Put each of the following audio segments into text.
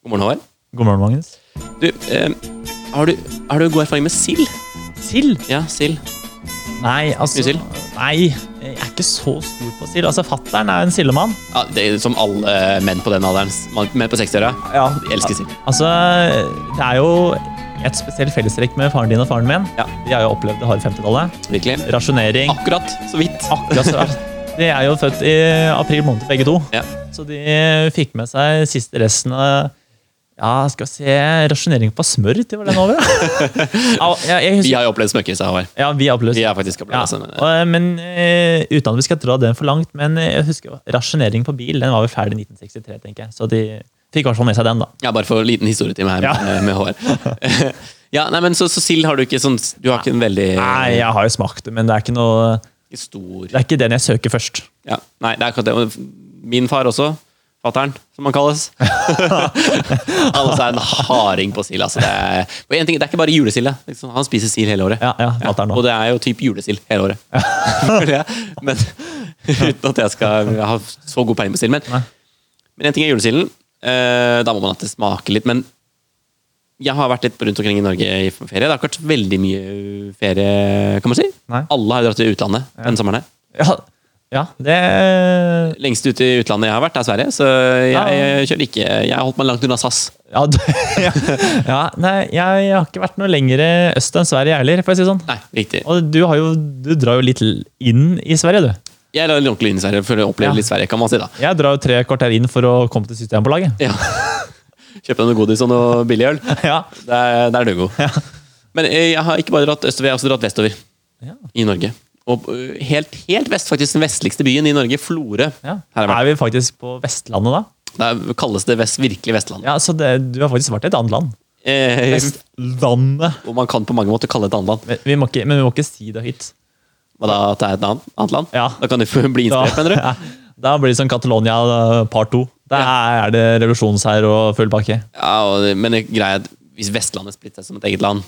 God morgen, Håvard. God morgen, Magnus. Du, eh, har, du, har du god erfaring med sild? Sild? Ja, sild. Nei, altså Mye sild? Nei, jeg er ikke så stor på sild. Altså, Fattern er jo en sildemann. Ja, det er som alle eh, menn på den alderen. s- man- Menn på 60-åra. Ja, De elsker sild. Altså, det er jo et spesielt fellestrekk med faren din og faren min. Ja. De har jo opplevd det harde 50-tallet. Virkelig. Rasjonering. Akkurat så vidt. Akkurat så rart. De er jo født i april måned, begge to. Ja. Så de fikk med seg siste resten av Ja, skal vi se Rasjonering på smør, til var den over, da? Au, jeg, jeg Vi husker, har jo opplevd smøkkelse, Håvard. ja, vi har oppløst. Vi har faktisk Ja, opplevd det. sånn, eh, og, men eh, Uten at vi skal dra den for langt, men eh, jeg husker jo, rasjonering på bil den var vel ferdig i 1963, tenker jeg. Så de fikk i hvert fall med seg den, da. Ja, bare for en liten historietime her eh, Ja. med, med Håvard. ja, nei, men så, så sild har du ikke sånn Du har ikke en veldig eh, Nei, jeg har jo smakt det, men det er ikke noe stor Det er ikke den jeg søker først. ja. Nei, det er akkurat det. Og Min far også. Fatter'n, som han kalles. han også er en harding på sild. Altså. Det, er- og en ting, det er ikke bare julesild. det er Liksom, han spiser sild hele året. Ja, ja, alt er nå. Og det er jo typ julesild hele året. For det- men uten at jeg skal ha så god peiling på sild. Men, Nei. men en ting er julesilden. eh, da må man at det smaker litt. Men jeg har vært litt rundt omkring i Norge i ferie. Det har ikke vært veldig mye ferie, kan man si. Nei. Alle har jo dratt til utlandet den sommeren her. Ja, ja det Lengst ute i utlandet jeg har vært, er Sverige. Så jeg, Ja. kjører ikke Jeg har holdt meg langt unna SAS. ja, det, ja, nei, jeg har ikke vært noe lenger øst enn Sverige jeg heller, for å si det sånn. Nei, riktig. Og du, har jo, du drar jo litt inn i Sverige, du. Jeg la ordentlig inn i Sverige for å oppleve Ja. litt Sverige, kan man si. da Jeg drar jo tre kvarter inn for å komme til Systembolaget. ja. Kjøpe noe godis og noe billig øl. Ja. Der, der er du god. Men eh, jeg har ikke bare dratt østover, jeg har også dratt vestover Ja. i Norge. Og eh, helt, helt vest, faktisk den vestligste byen i Norge, Florø. Ja. Her har jeg vært. Er vi faktisk på Vestlandet, da? Der kalles det vest, virkelig Vestlandet. Ja, så det, Du har faktisk vært i et annet land. Eh, Vestlandet. og man kan på mange måter kalle det et annet land. Men vi må ikke, men vi må ikke si det høyt. Hva da, at det er et annet, annet land? Ja. Da kan du få bli Da, inspirert, mener du? ja, da blir det sånn Catalonia eh, part to. Der er det revolusjonshær og full pakke. Ja, og, det- men det greia er at hvis Vestlandet splitter seg som et eget land,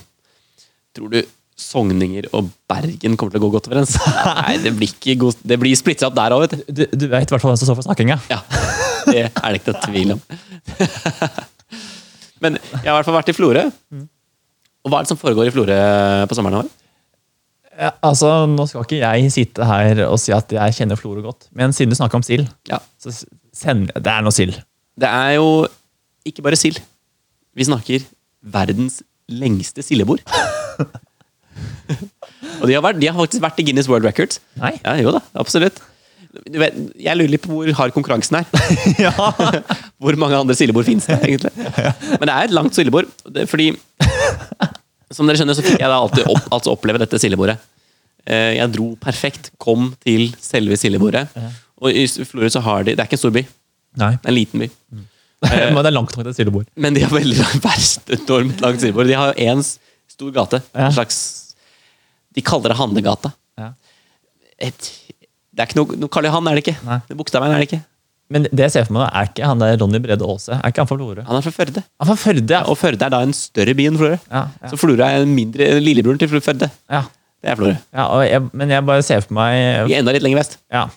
tror du Sogninger og Bergen kommer til å gå godt overens? Nei, det blir, ikke god, det blir splittet opp der òg, vet du. Du, du vet i hvert fall hvem som står for snakkinga. Ja, det er det ikke noe tvil om. Men jeg har i hvert fall vært i Florø. Og hva er det som foregår i Florø på sommeren? Håvard? Ja, altså, Nå skal ikke jeg sitte her og si at jeg kjenner Florø godt, men siden du snakka om sild, Ja. så s- send, det er noe sild. Det er jo ikke bare sild. Vi snakker verdens lengste sildebord. Og de har, vært, de har faktisk vært i Guinness World Records. Nei? Ja, jo da, absolutt. Du vet, jeg lurer litt på hvor hard konkurransen er. Ja. Hvor mange andre sildebord finnes det, egentlig? Men det er et langt sildebord, det- fordi Som dere skjønner, så fikk jeg da alltid opp, altså oppleve dette sildebordet. Eh, Jeg dro perfekt, kom til selve sildebordet. Og i Florø så har de Det er ikke en stor by, det Nei. er en liten by. Men det er langt nok til et sildebord. Men de har veldig lang- verst enormt langt sidebord. De har jo én stor gate. Ja. En slags De kaller det Handlegata. Ja. Et, det er ikke noe, noe Karl Johan, er det ikke? Nei. Det er Bogstadveien, er det ikke? Men det jeg ser for meg, er ikke han der Ronny Brede Aase. Er ikke han fra Florø? Han er fra Førde. Han er fra Førde, ja. Og Førde er da en større by enn Florø. Ja, ja. Så Florø er en mindre lillebroren til Førde. ja. Det er Florø. Ja, og jeg, men jeg bare ser for meg Vi er enda litt lenger vest. ja.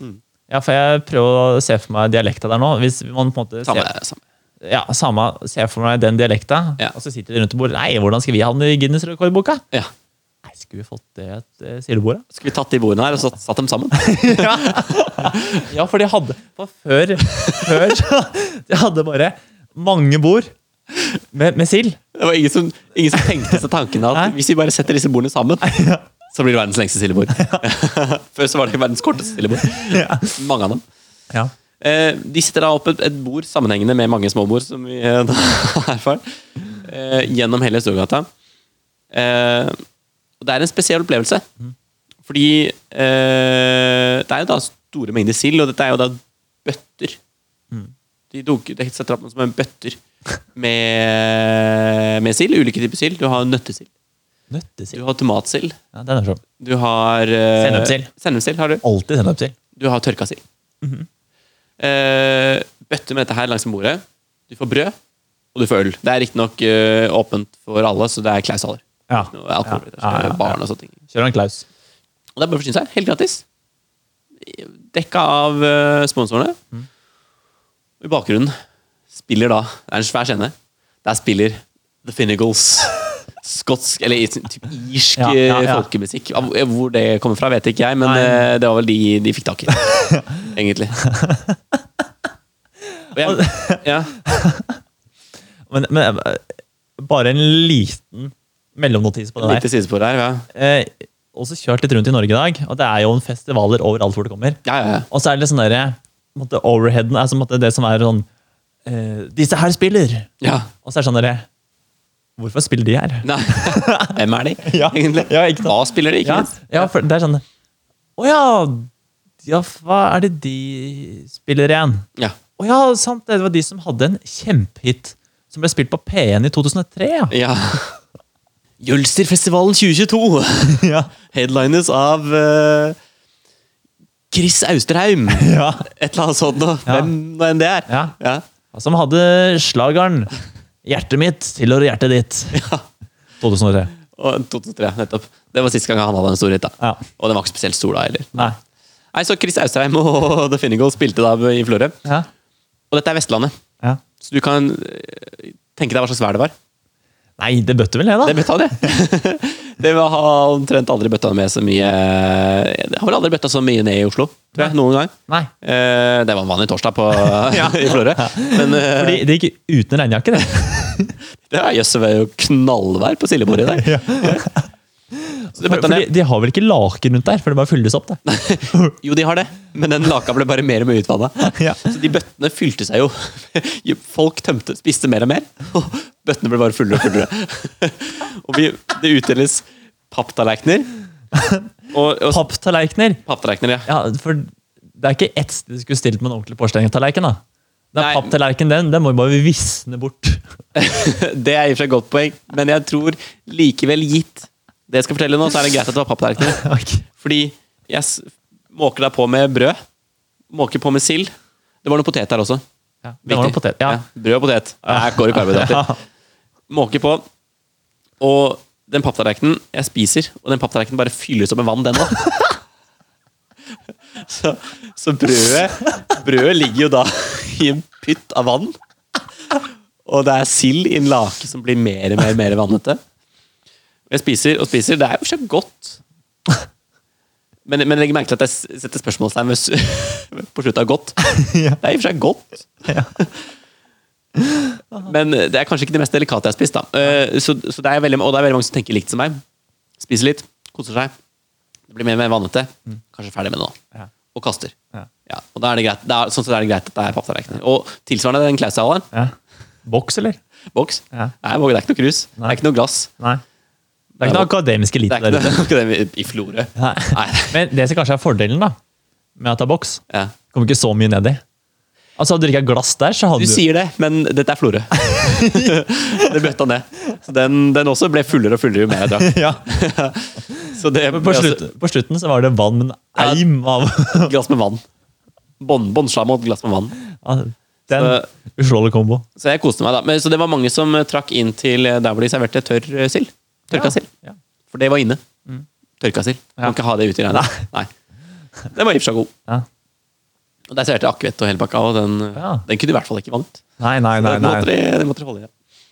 ja, for jeg prøver å se for meg dialekta der nå. Hvis man på en måte Samme, ser, samme. ja, samme, ser for meg den dialekta, Ja. og så sitter de rundt bordet Nei, hvordan skal vi havne i Guinness rekordboka? Ja. Nei, skulle vi fått det et eh, sildebord, da? Skulle vi tatt de bordene her og satt, satt dem sammen? Ja, for de hadde For før, før så De hadde bare mange bord med, med sild. Det var ingen som, ingen som tenkte seg tanken at Nei. hvis vi bare setter disse bordene sammen, så blir det verdens lengste sildebord. Før så var det verdens korteste sildebord. Mange av dem. Ja. Eh, de setter da opp et, et bord sammenhengende med mange små bord, som vi eh, da har erfart, eh, gjennom hele Storgata. Eh, og det er en spesiell opplevelse. Fordi eh, det er jo da store mengder sild, og dette er jo da bøtter. De, dunker, de setter opp noe som en bøtter med, med sild. Ulike typer sild. Du har nøttesild, du Nøttesild. har tomatsild, Ja, den er sånn. du har eh, Sennepsild. Sennepsild har du Alltid sennepsild. du har tørka si. Mhm. eh, bøtte med dette her langs bordet. Du får brød, og du får øl. Det er riktignok eh, åpent for alle, så det er klaushaler. Ja. Noe alkohol, Ja, vet du, ja, ja, ja. Barn og sånne ting. Kjører han Klaus. Og det er bare å forsyne seg. Helt gratis. Dekka av eh, sponsorene. Og I bakgrunnen spiller da Det er en svær scene. Der spiller The Finnegals skotsk Eller i- typ irsk Ja, ja, eh, ja. folkemusikk. Av- eh, Hvor det kommer fra, vet ikke jeg, men Nei. eh, det var vel de de fikk tak i. Egentlig. Og jeg, ja. Men, men eh, bare en liten mellomnotis på det der. Lite sidespor her. Ja. Eh, også kjørt litt rundt i Norge i dag, og det er jo en festivaler overalt hvor det kommer. Ja, ja, ja. Og så er det litt sånn derre på en måte, Overheaden er som det som er sånn eh, Disse her spiller! ja. Og så er det sånn derre Hvorfor spiller de her? Nei. Hvem er de, Ja, egentlig? ja, ikke sant. Hva spiller de, ikke Ja, minst? ja for det er sånn Å ja, ja, hva er det de spiller igjen? Ja. Å ja, sant, det var de som hadde en kjempehit som ble spilt på P1 i 2003, ja. ja. Jølsterfestivalen 2022! ja. Headlines av eh, Chris Austerheim! ja. Et eller annet sånt noe. Ja. Hvem nå enn det er. ja. Ja. Som hadde slageren 'Hjertet mitt tilhører hjertet ditt'. Ja. 2003. Og 2003, nettopp. Det var siste gang han hadde en stor hit. da. Ja. Og den var ikke spesielt stor da heller. Nei. Nei, Så Chris Austerheim og The Finnegals spilte da i Florø. Ja. Og dette er Vestlandet, Ja. så du kan eh, tenke deg hva slags vær det var. Nei, det bøtte vel det, Det da. bøtta han, det. det var- har omtrent aldri bøtta med så mye Det har vel aldri bøtta så mye ned i Oslo, tror jeg. Noen gang. Nei. Eh, Det var en vanlig torsdag på, i Florø. Men eh, Fordi det gikk uten regnjakke, det. det var jøss, det var jo knallvær på sildebordet i dag. Ja. Så det bøtta Fordi ned. de har vel ikke laken rundt der, for det bare fylles opp, det. Jo, de har det, men den laka ble bare mer og mer utvanna. Ja. Så de bøttene fylte seg jo. Jo, Folk tømte, spiste mer og mer, og bøttene ble bare fullere og fullere. Og vi, det utdeles papptallerkener. Og, og Papptallerkener. papptallerkener, ja. Ja, for det er ikke ett sted du skulle stilt med en ordentlig porselengstallerken, da. Den Nei. papptallerkenen, den, den må jo bare visne bort. Det er i og for seg et godt poeng, men jeg tror likevel gitt det jeg skal fortelle nå, så er det greit at det var papptallerkener. Ok. Fordi jeg s- måker deg på med brød. Måker på med sild. Det var noe potet der også. Ja, det var noe Viktig. potet. Ja. Brød og potet. Her går det karbohydrater. Måker på. Og den papptallerkenen jeg spiser, og den papptallerkenen bare fylles opp med vann, den òg. Så, så brødet, brødet ligger jo da i en pytt av vann. Og det er sild i en lake som blir mer og mer, mer vannete. Jeg spiser og spiser. Det er jo så godt. Men, men legg merke til at jeg s- setter spørsmålstegn ved s- på slutten av godt. Ja. Det er i og for seg godt. Men eh, det er kanskje ikke det mest delikate jeg har spist. da. Eh, Så, så det er veldig, og det er veldig mange som tenker likt som meg. Spiser litt, koser seg. Det blir mer og mer vannete. Kanskje ferdig med det nå. Mm. Ja. Og kaster. Ja. Ja, og da er det greit. Da er, sånn sett er det greit at det er papptallerkener. Og tilsvarende den klaushaleren. Ja. Boks, eller? Boks. Ja. Nei, det er ikke noe krus. Det Nei. er ikke noe glass. Nei. Det er ikke noe akademisk Det elite er der ikke ute. noe, ikke det i Florø. Nei. Men det som kanskje er fordelen da, med at det er boks, Ja. kommer ikke så mye nedi. Altså, Hadde du ikke hatt glass der, så Du hadde du, sier det, men dette er Florø. det bøtta ned. Så den, den også ble fullere og fullere jo mer jeg drakk. ja, Så det på, slutt, på slutten så var det vann, men eim av Et glass med vann. Bånn- Bånnslam og et glass med vann. av Den Så- uslåelige kombo. Så jeg koste meg da. Men, så det var mange som eh, trakk inn til eh, der hvor de serverte tørr eh, sild. Tørka sild. Ja. Mm. For det var inne. Tørka sild. Ja. Kan ikke ha det ute i regnet. Nei. Den var i og for seg god. Ja. Og der serverte jeg akevett og hele pakka, og den, Ja. den kunne i hvert fall ikke vannet. Nei, nei, nei. Den måtte nei. de, den måtte de holde i. Ja.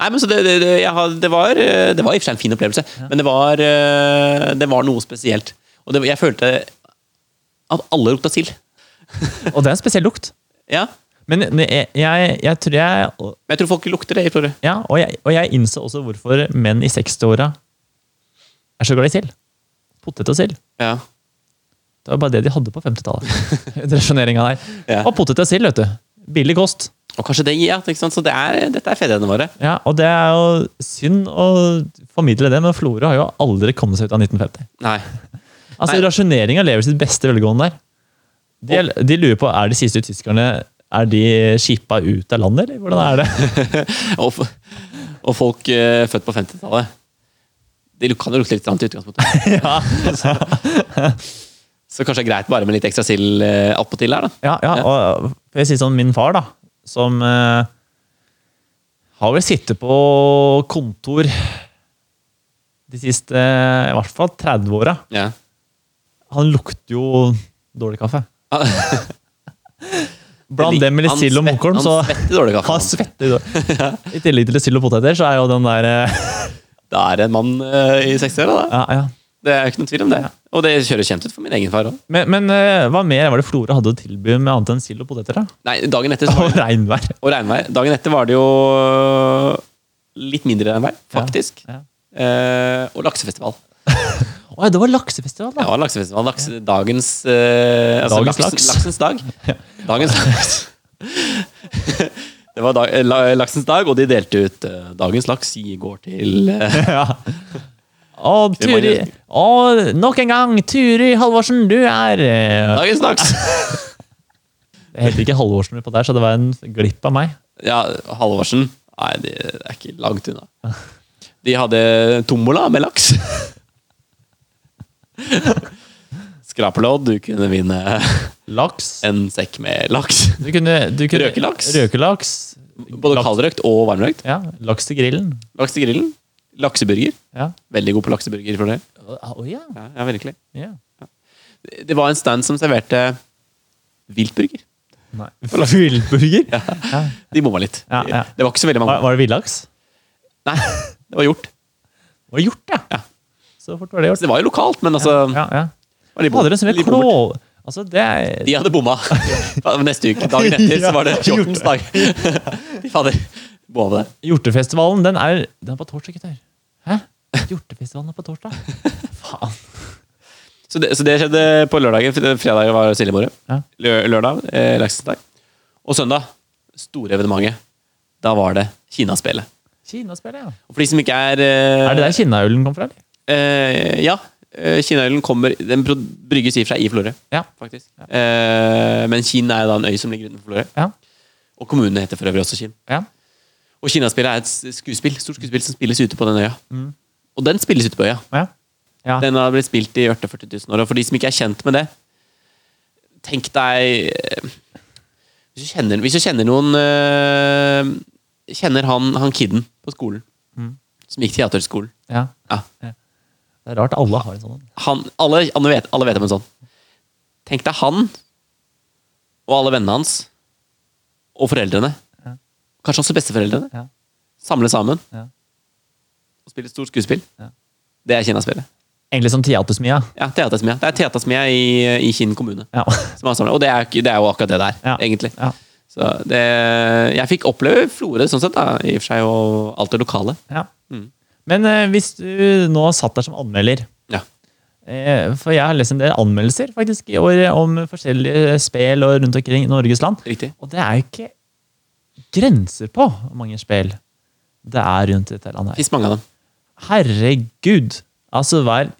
Nei, men så det, det, det, jeg har, det, var, eh, det var i og for seg en fin opplevelse, men det var, eh, det var noe spesielt. Og det, jeg følte at alle lukta sild. Og det er en spesiell lukt. Ja. Men men jeg, jeg, jeg tror jeg og- Men jeg tror folk lukter det i Florø. Ja, og jeg, og jeg innså også hvorfor menn i 60-åra er så glad i sild. Potet og sild. Ja. Det var bare det de hadde på 50-tallet. Resjoneringa der. Ja. Og potet og sild, vet du. Billig kost. Og kanskje det, ja, ikke sant? Så det er, dette er fedrene våre. Ja, og det er jo synd å formidle det, men Florø har jo aldri kommet seg ut av 1950. Nei. Altså, Nei. Rasjoneringa lever sitt beste velgående der. De, de lurer på er de siste tyskerne er de skipa ut av landet, eller hvordan er det? Og, f- og folk eh, født på 50-tallet. Det luk- kan jo lukte litt stramt i utgangspunktet. ja, Så kanskje det er greit bare med litt ekstra sild eh, attpåtil her, da. ja, ja, og for jeg sier sånn, min far, da, som eh, har vel sittet på kontor de siste eh, i hvert fall 30 åra. Ja. Han lukter jo dårlig kaffe. Bland det med litt Han sild og svett- mokorn, så Han svetter dårlig kaffe. Han han. svetter. da. I tillegg til sild og poteter, så er jo den der eh, Det er en mann eh, i 60-åra, da. Ja, ja. Det er ikke noen tvil om det. Og det kjøres kjent ut for min egen far òg. Men, men eh, hva mer var det Florø hadde å tilby med annet enn sild og poteter? da? Nei, dagen etter så var Og regnvær. det, og regnvær. Dagen etter var det jo eh, litt mindre regnvær, faktisk. Ja. Eh, og laksefestival. Å ja, det var laksefestival, Det da! var laksefestival. Laks, dagens eh, altså, Dagens laksen, laks. Laksens dag. Dagens laks. det var dag, eh, la, laksens dag, og de delte ut eh, 'Dagens laks i går til eh, Ja. Å, Turi Kremaliøsen. Å, nok en gang! Turi Halvorsen, du er eh, Dagens laks'. Det heter ikke Halvorsen på der, så det var en glipp av meg. Ja, Halvorsen Nei, det er ikke langt unna. De hadde tombola med laks. Skrapelodd, du kunne vinne Laks. en sekk med laks. Du kunne, du kunne Røkelaks. Røkelaks. Både laks, kaldrøkt og varmrøkt. ja, laks til grillen. Laks til grillen. Lakseburger. Ja. Veldig god på lakseburger. for det. Å å, ja. Ja, ja, virkelig. ja. Det var en stand som serverte viltburger. Nei. Villburger? Ja. De bomma litt. Ja, ja. Det var ikke så veldig mange. Var, var det villaks? Nei, det var gjort. Det var gjort, ja. Ja. Så fort var det Så gjort. det var jo lokalt, men altså Ja, ja. var litt bom- Hadde det som en litt bommert. klov... Altså, det er De hadde bomma. Ja, men Neste uke, dagen etter, så var det Ja, 14. dag. De fader. Bomma på det. Hjortefestivalen, den er, den er på torsdag, gutter. Hæ? Hjortefestivalen er på torsdag? Faen. Så, det. så det skjedde på lørdagen. for det- Fredag var sildemorgen. Ja. Lø- Lørdag eh, laksesdag. Og søndag, store evenementet. Da var det Kinaspelet. Kinaspillet, ja. Og for de som ikke er eh, Er det der Kinnaølen kom fra, eller? Eh, ja. Eh, Kinaølen kommer Den pro- brygges i og for seg i Florø, Ja. faktisk. Eh, men Kinn er da en øy som ligger utenfor Florø. Ja. Og kommunen heter for øvrig også Kinn. ja. Og Kinaspillet er et s- skuespill, stort skuespill som spilles ute på den øya. Og den spilles ute på øya. ja. Mm. ja. Den har blitt spilt i 48 000 år. Og for de som ikke er kjent med det Tenk deg eh, Hvis du kjenner, hvis du kjenner noen eh, Kjenner han, han kidden på skolen Mm. som gikk teaterskolen. ja. Ja. Det er rart alle har en sånn. Han, alle, alle, vet, alle vet om en sånn. Tenk deg han og alle vennene hans og foreldrene, Ja. kanskje også besteforeldrene, Ja. samle sammen Ja. og spille et stort skuespill. Ja. Det er Kinaspillet. Egentlig som Teatersmia. Ja, Teatersmia. Det er Teatersmia i, i Kinn kommune. Ja. Som har samlet. Og det er, ikke- det er jo akkurat det det er, Ja. egentlig. Ja. Så det, jeg fikk oppleve Florø sånn sett, da, i og for seg, og alt det lokale. ja. Mm. Men eh, hvis du nå satt der som anmelder Ja. eh, For jeg har lest en del anmeldelser faktisk i år om forskjellige spel og rundt omkring i Norges land. Riktig. Og det er jo ikke grenser på hvor mange spill det er rundt dette landet. her. Fins mange av dem. Herregud! Altså, hver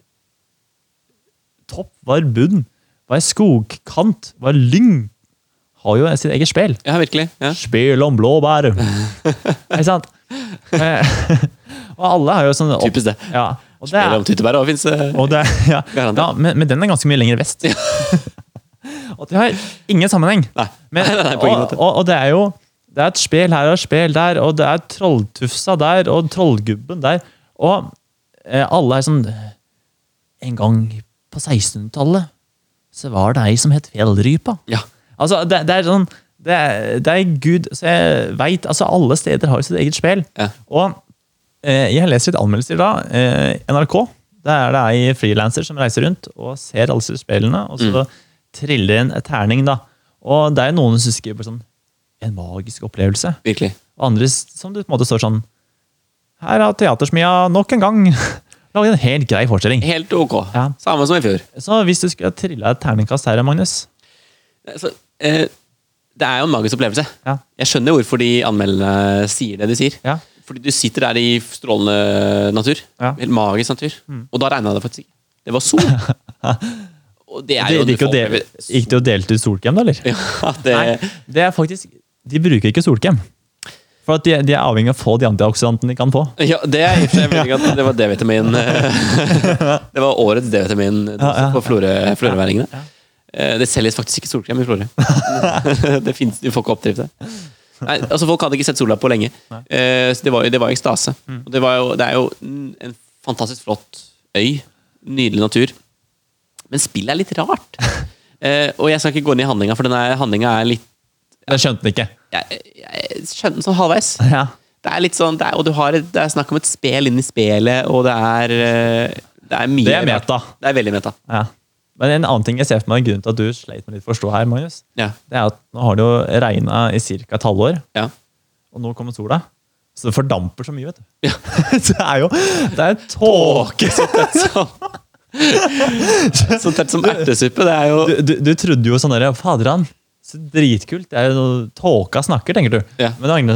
topp, hver bunn, hver skogkant, hver lyng har jo sitt eget spel. Ja, virkelig. Ja. Spel om blåbær! Ikke sant? Eh, og alle har jo sånn opp- Typisk det. Ja, og det Eller er, om tyttebær eh, òg fins. og det, ja. Garantert. ja, men, men den er ganske mye lenger vest. og det har ingen sammenheng. Nei. Men, nei, nei, på ingen og, måte. og, og det er jo Det er et spel her og et spel der, og det er Trolltufsa der, og Trollgubben der. Og eh, alle er sånn En gang på 1600-tallet så var det ei som het Fjellrypa. Ja. Altså, det, det er sånn det er, det er Gud Så jeg veit Altså, alle steder har jo sitt eget spel. Ja. Og eh, jeg leser litt anmeldelser da. Eh, NRK. Der er det ei frilanser som reiser rundt og ser alle disse spillene, og så triller en terning, da. Og det er noen som skriver sånn En magisk opplevelse. Virkelig. Og andre s- som det på en måte står sånn Her har Teatersmia nok en gang laget en helt grei forestilling. Helt ok. Ja. Samme som i fjor. Så hvis du skulle trilla et terningkast her, Magnus Så, eh, det er jo en magisk opplevelse. Ja. Jeg skjønner hvorfor de anmelderne sier det de sier. Ja. Fordi du sitter der i strålende natur. Ja. Mm. Helt magisk natur. Og da regna det faktisk ikke. Det var sol. Og det er jo Det- det Gikk jo du får del- oppleve- gikk det og delte ut solkrem, da, eller? Ja, det, Nei, det er faktisk De bruker ikke solkrem. For at de, de er avhengig av å få de antioksidantene de kan få. ja, det er i og for seg veldig godt. Det var D-vitamin Det var årets D-vitamin Ja, ja. på Florø- florøværingene. Eh, Det selges faktisk ikke solkrem i Florø. Det finnes, Du får ikke oppdrift det. Nei, altså Folk hadde ikke sett sola på lenge. Eh, Så Det var jo, det var jo ekstase. Mm. Og det, var jo, det er jo en en fantastisk flott øy. Nydelig natur. Men spillet er litt rart. Eh, Og jeg skal ikke gå inn i handlinga, for handlinga er litt Jeg skjønte den ikke. Jeg, jeg skjønner den sånn halvveis. Ja. Det er litt sånn, det er, og du har, et- det er snakk om et spel inni spelet, og det er eh, Det er mye Det er rart. meta. Det er veldig meta. Ja. Men en annen ting jeg ser for meg, grunnen til at du sleit med litt forstå her, Magnus, Ja. det er at nå har det jo regna i ca. et halvår, ja. og nå kommer sola. Så det fordamper så mye, vet du. Ja. det er jo Det er tåke! Åke, så tett som Så tett som ertesuppe. Det er jo Du, du, du trodde jo sånn derre Faderan, så dritkult. Det er jo noe tåka snakker, tenker du. Ja. Men det var en,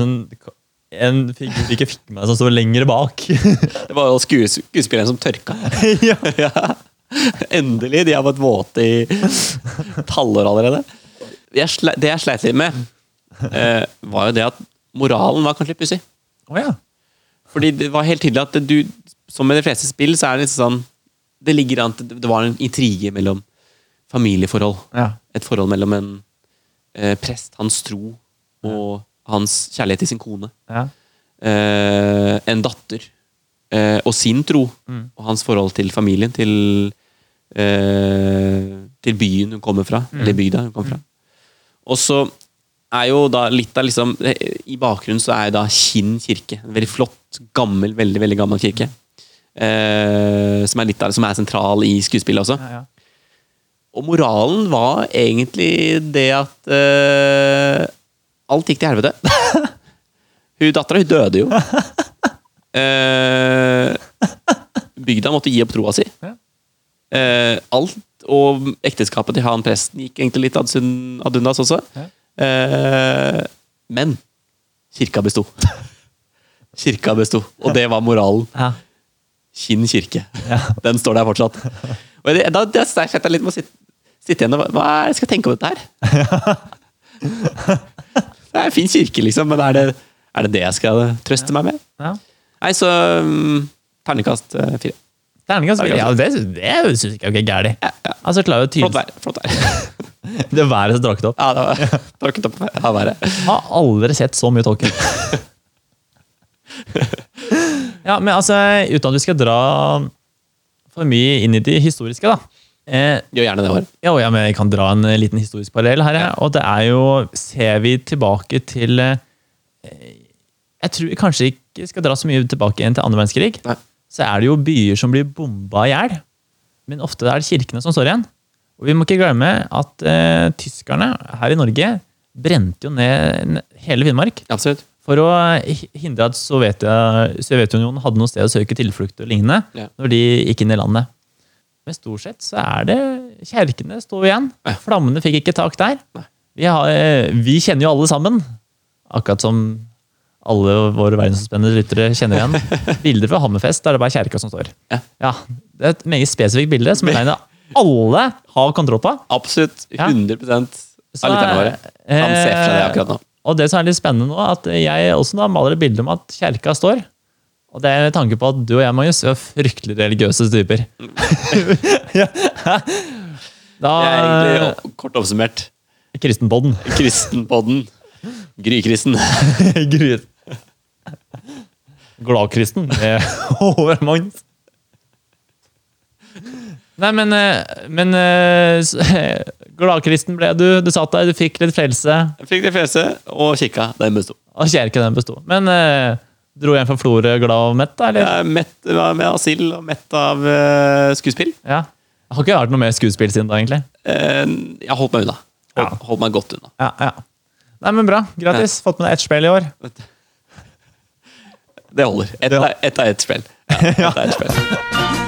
en figur du ikke fikk med deg, som sto lenger bak. Det var jo skues, skuespilleren som tørka. ja. ja. Endelig. De har vært våte i et halvår allerede. Jeg sle, det jeg sleit litt med, eh, var jo det at moralen var kanskje litt pussig. Å ja. Fordi det var helt tydelig at du, som med de fleste spill, så er det litt sånn Det ligger an til Det var en intrige mellom familieforhold. Ja. Et forhold mellom en eh, prest, hans tro, og hans kjærlighet til sin kone. ja. Eh, en datter. Eh, og sin tro. Og hans forhold til familien, til eh, Til byen hun kommer fra. Eller bygda hun kommer fra. Og så er jo da litt av liksom I bakgrunnen så er jo da Kinn kirke. En veldig flott, gammel, veldig veldig gammel kirke. Eh, som er litt av det som er sentral i skuespillet også. ja, ja. Og moralen var egentlig det at eh, Alt gikk til helvete. hun dattera, hun døde jo. Eh, bygda måtte gi opp troa si. Ja. Eh, alt og ekteskapet til han presten gikk egentlig litt ad sun- ad undas også. Eh, men kirka besto. Kirka besto, og det var moralen. Ja. Kinn kirke. Ja. Den står der fortsatt. Og det, da da setter jeg litt med å sitte, sitte igjen og bare, Hva er det jeg skal tenke om dette her? Det er en fin kirke, liksom, men er det er det, det jeg skal trøste meg med? ja. Nei, så um, Ternekast eh, fire. Terningkast fire. Ja, det, det syns jeg ikke er gærent. Altså, klarer jo Flott tydelig vær. flott vær. det været som drakk det opp. Ja, det var tråkket opp av været. Har aldri sett så mye tåke. ja, men altså, uten at vi skal dra for mye inn i de historiske, da. Eh, Gjør gjerne det i år. ja, og ja, men jeg kan dra en eh, liten historisk parallell her. jeg. Og det er jo Ser vi tilbake til eh, Jeg tror vi kanskje ikke skal dra så mye tilbake igjen til andre verdenskrig. Nei. Så er det jo byer som blir bomba i hjel. Men ofte er det kirkene som står igjen. Og vi må ikke glemme at eh, tyskerne her i Norge brente jo ned n- hele Finnmark Absolutt. for å hi- hindre at Sovjetia, Sovjetunionen hadde noe sted å søke tilflukt og lignende Ja. når de gikk inn i landet. Men stort sett så er det kjerkene står igjen. Ja. Flammene fikk ikke tak der. Nei. Vi, har, eh, vi kjenner jo alle sammen, akkurat som alle våre verdensomspennende lyttere kjenner igjen. Bilder fra Hammerfest der det bare er kjerka som står. Ja. Det er et meget spesifikt bilde som jeg regner alle har kontroll på. Absolutt. Ja. 100 av lytterne våre. Han ser for seg det akkurat nå. Og det som er litt spennende nå, er at jeg også da maler et bilde om at kjerka står. Og det er med tanke på at du og jeg, Magnus, er fryktelig religiøse typer. Ja. da Det er Eh, egentlig o- kort oppsummert Kristenpodden. kristenpodden. Grykristen. Gruet. Gladkristen. med Håvard Magnus. Nei, men, eh, men eh, s- eh, Gladkristen ble du. Du satt der, du fikk litt frelse. Jeg fikk det fjeset og kikka. Den besto. Og kjerke den besto. Men eh, dro hjem fra Florø glad og mett, da? eller? Jeg er mett av med asyl og mett av eh, skuespill. Ja. Jeg har ikke hørt noe mer skuespill siden da, egentlig. Eh, jeg har holdt meg unna. Hold, Ja. Holdt meg godt unna. Ja, ja. Nei, men bra. Gratis. Fått med deg ett spill i år. Det holder. Ett Det- er ett et spill. Ja, ett er ett spill.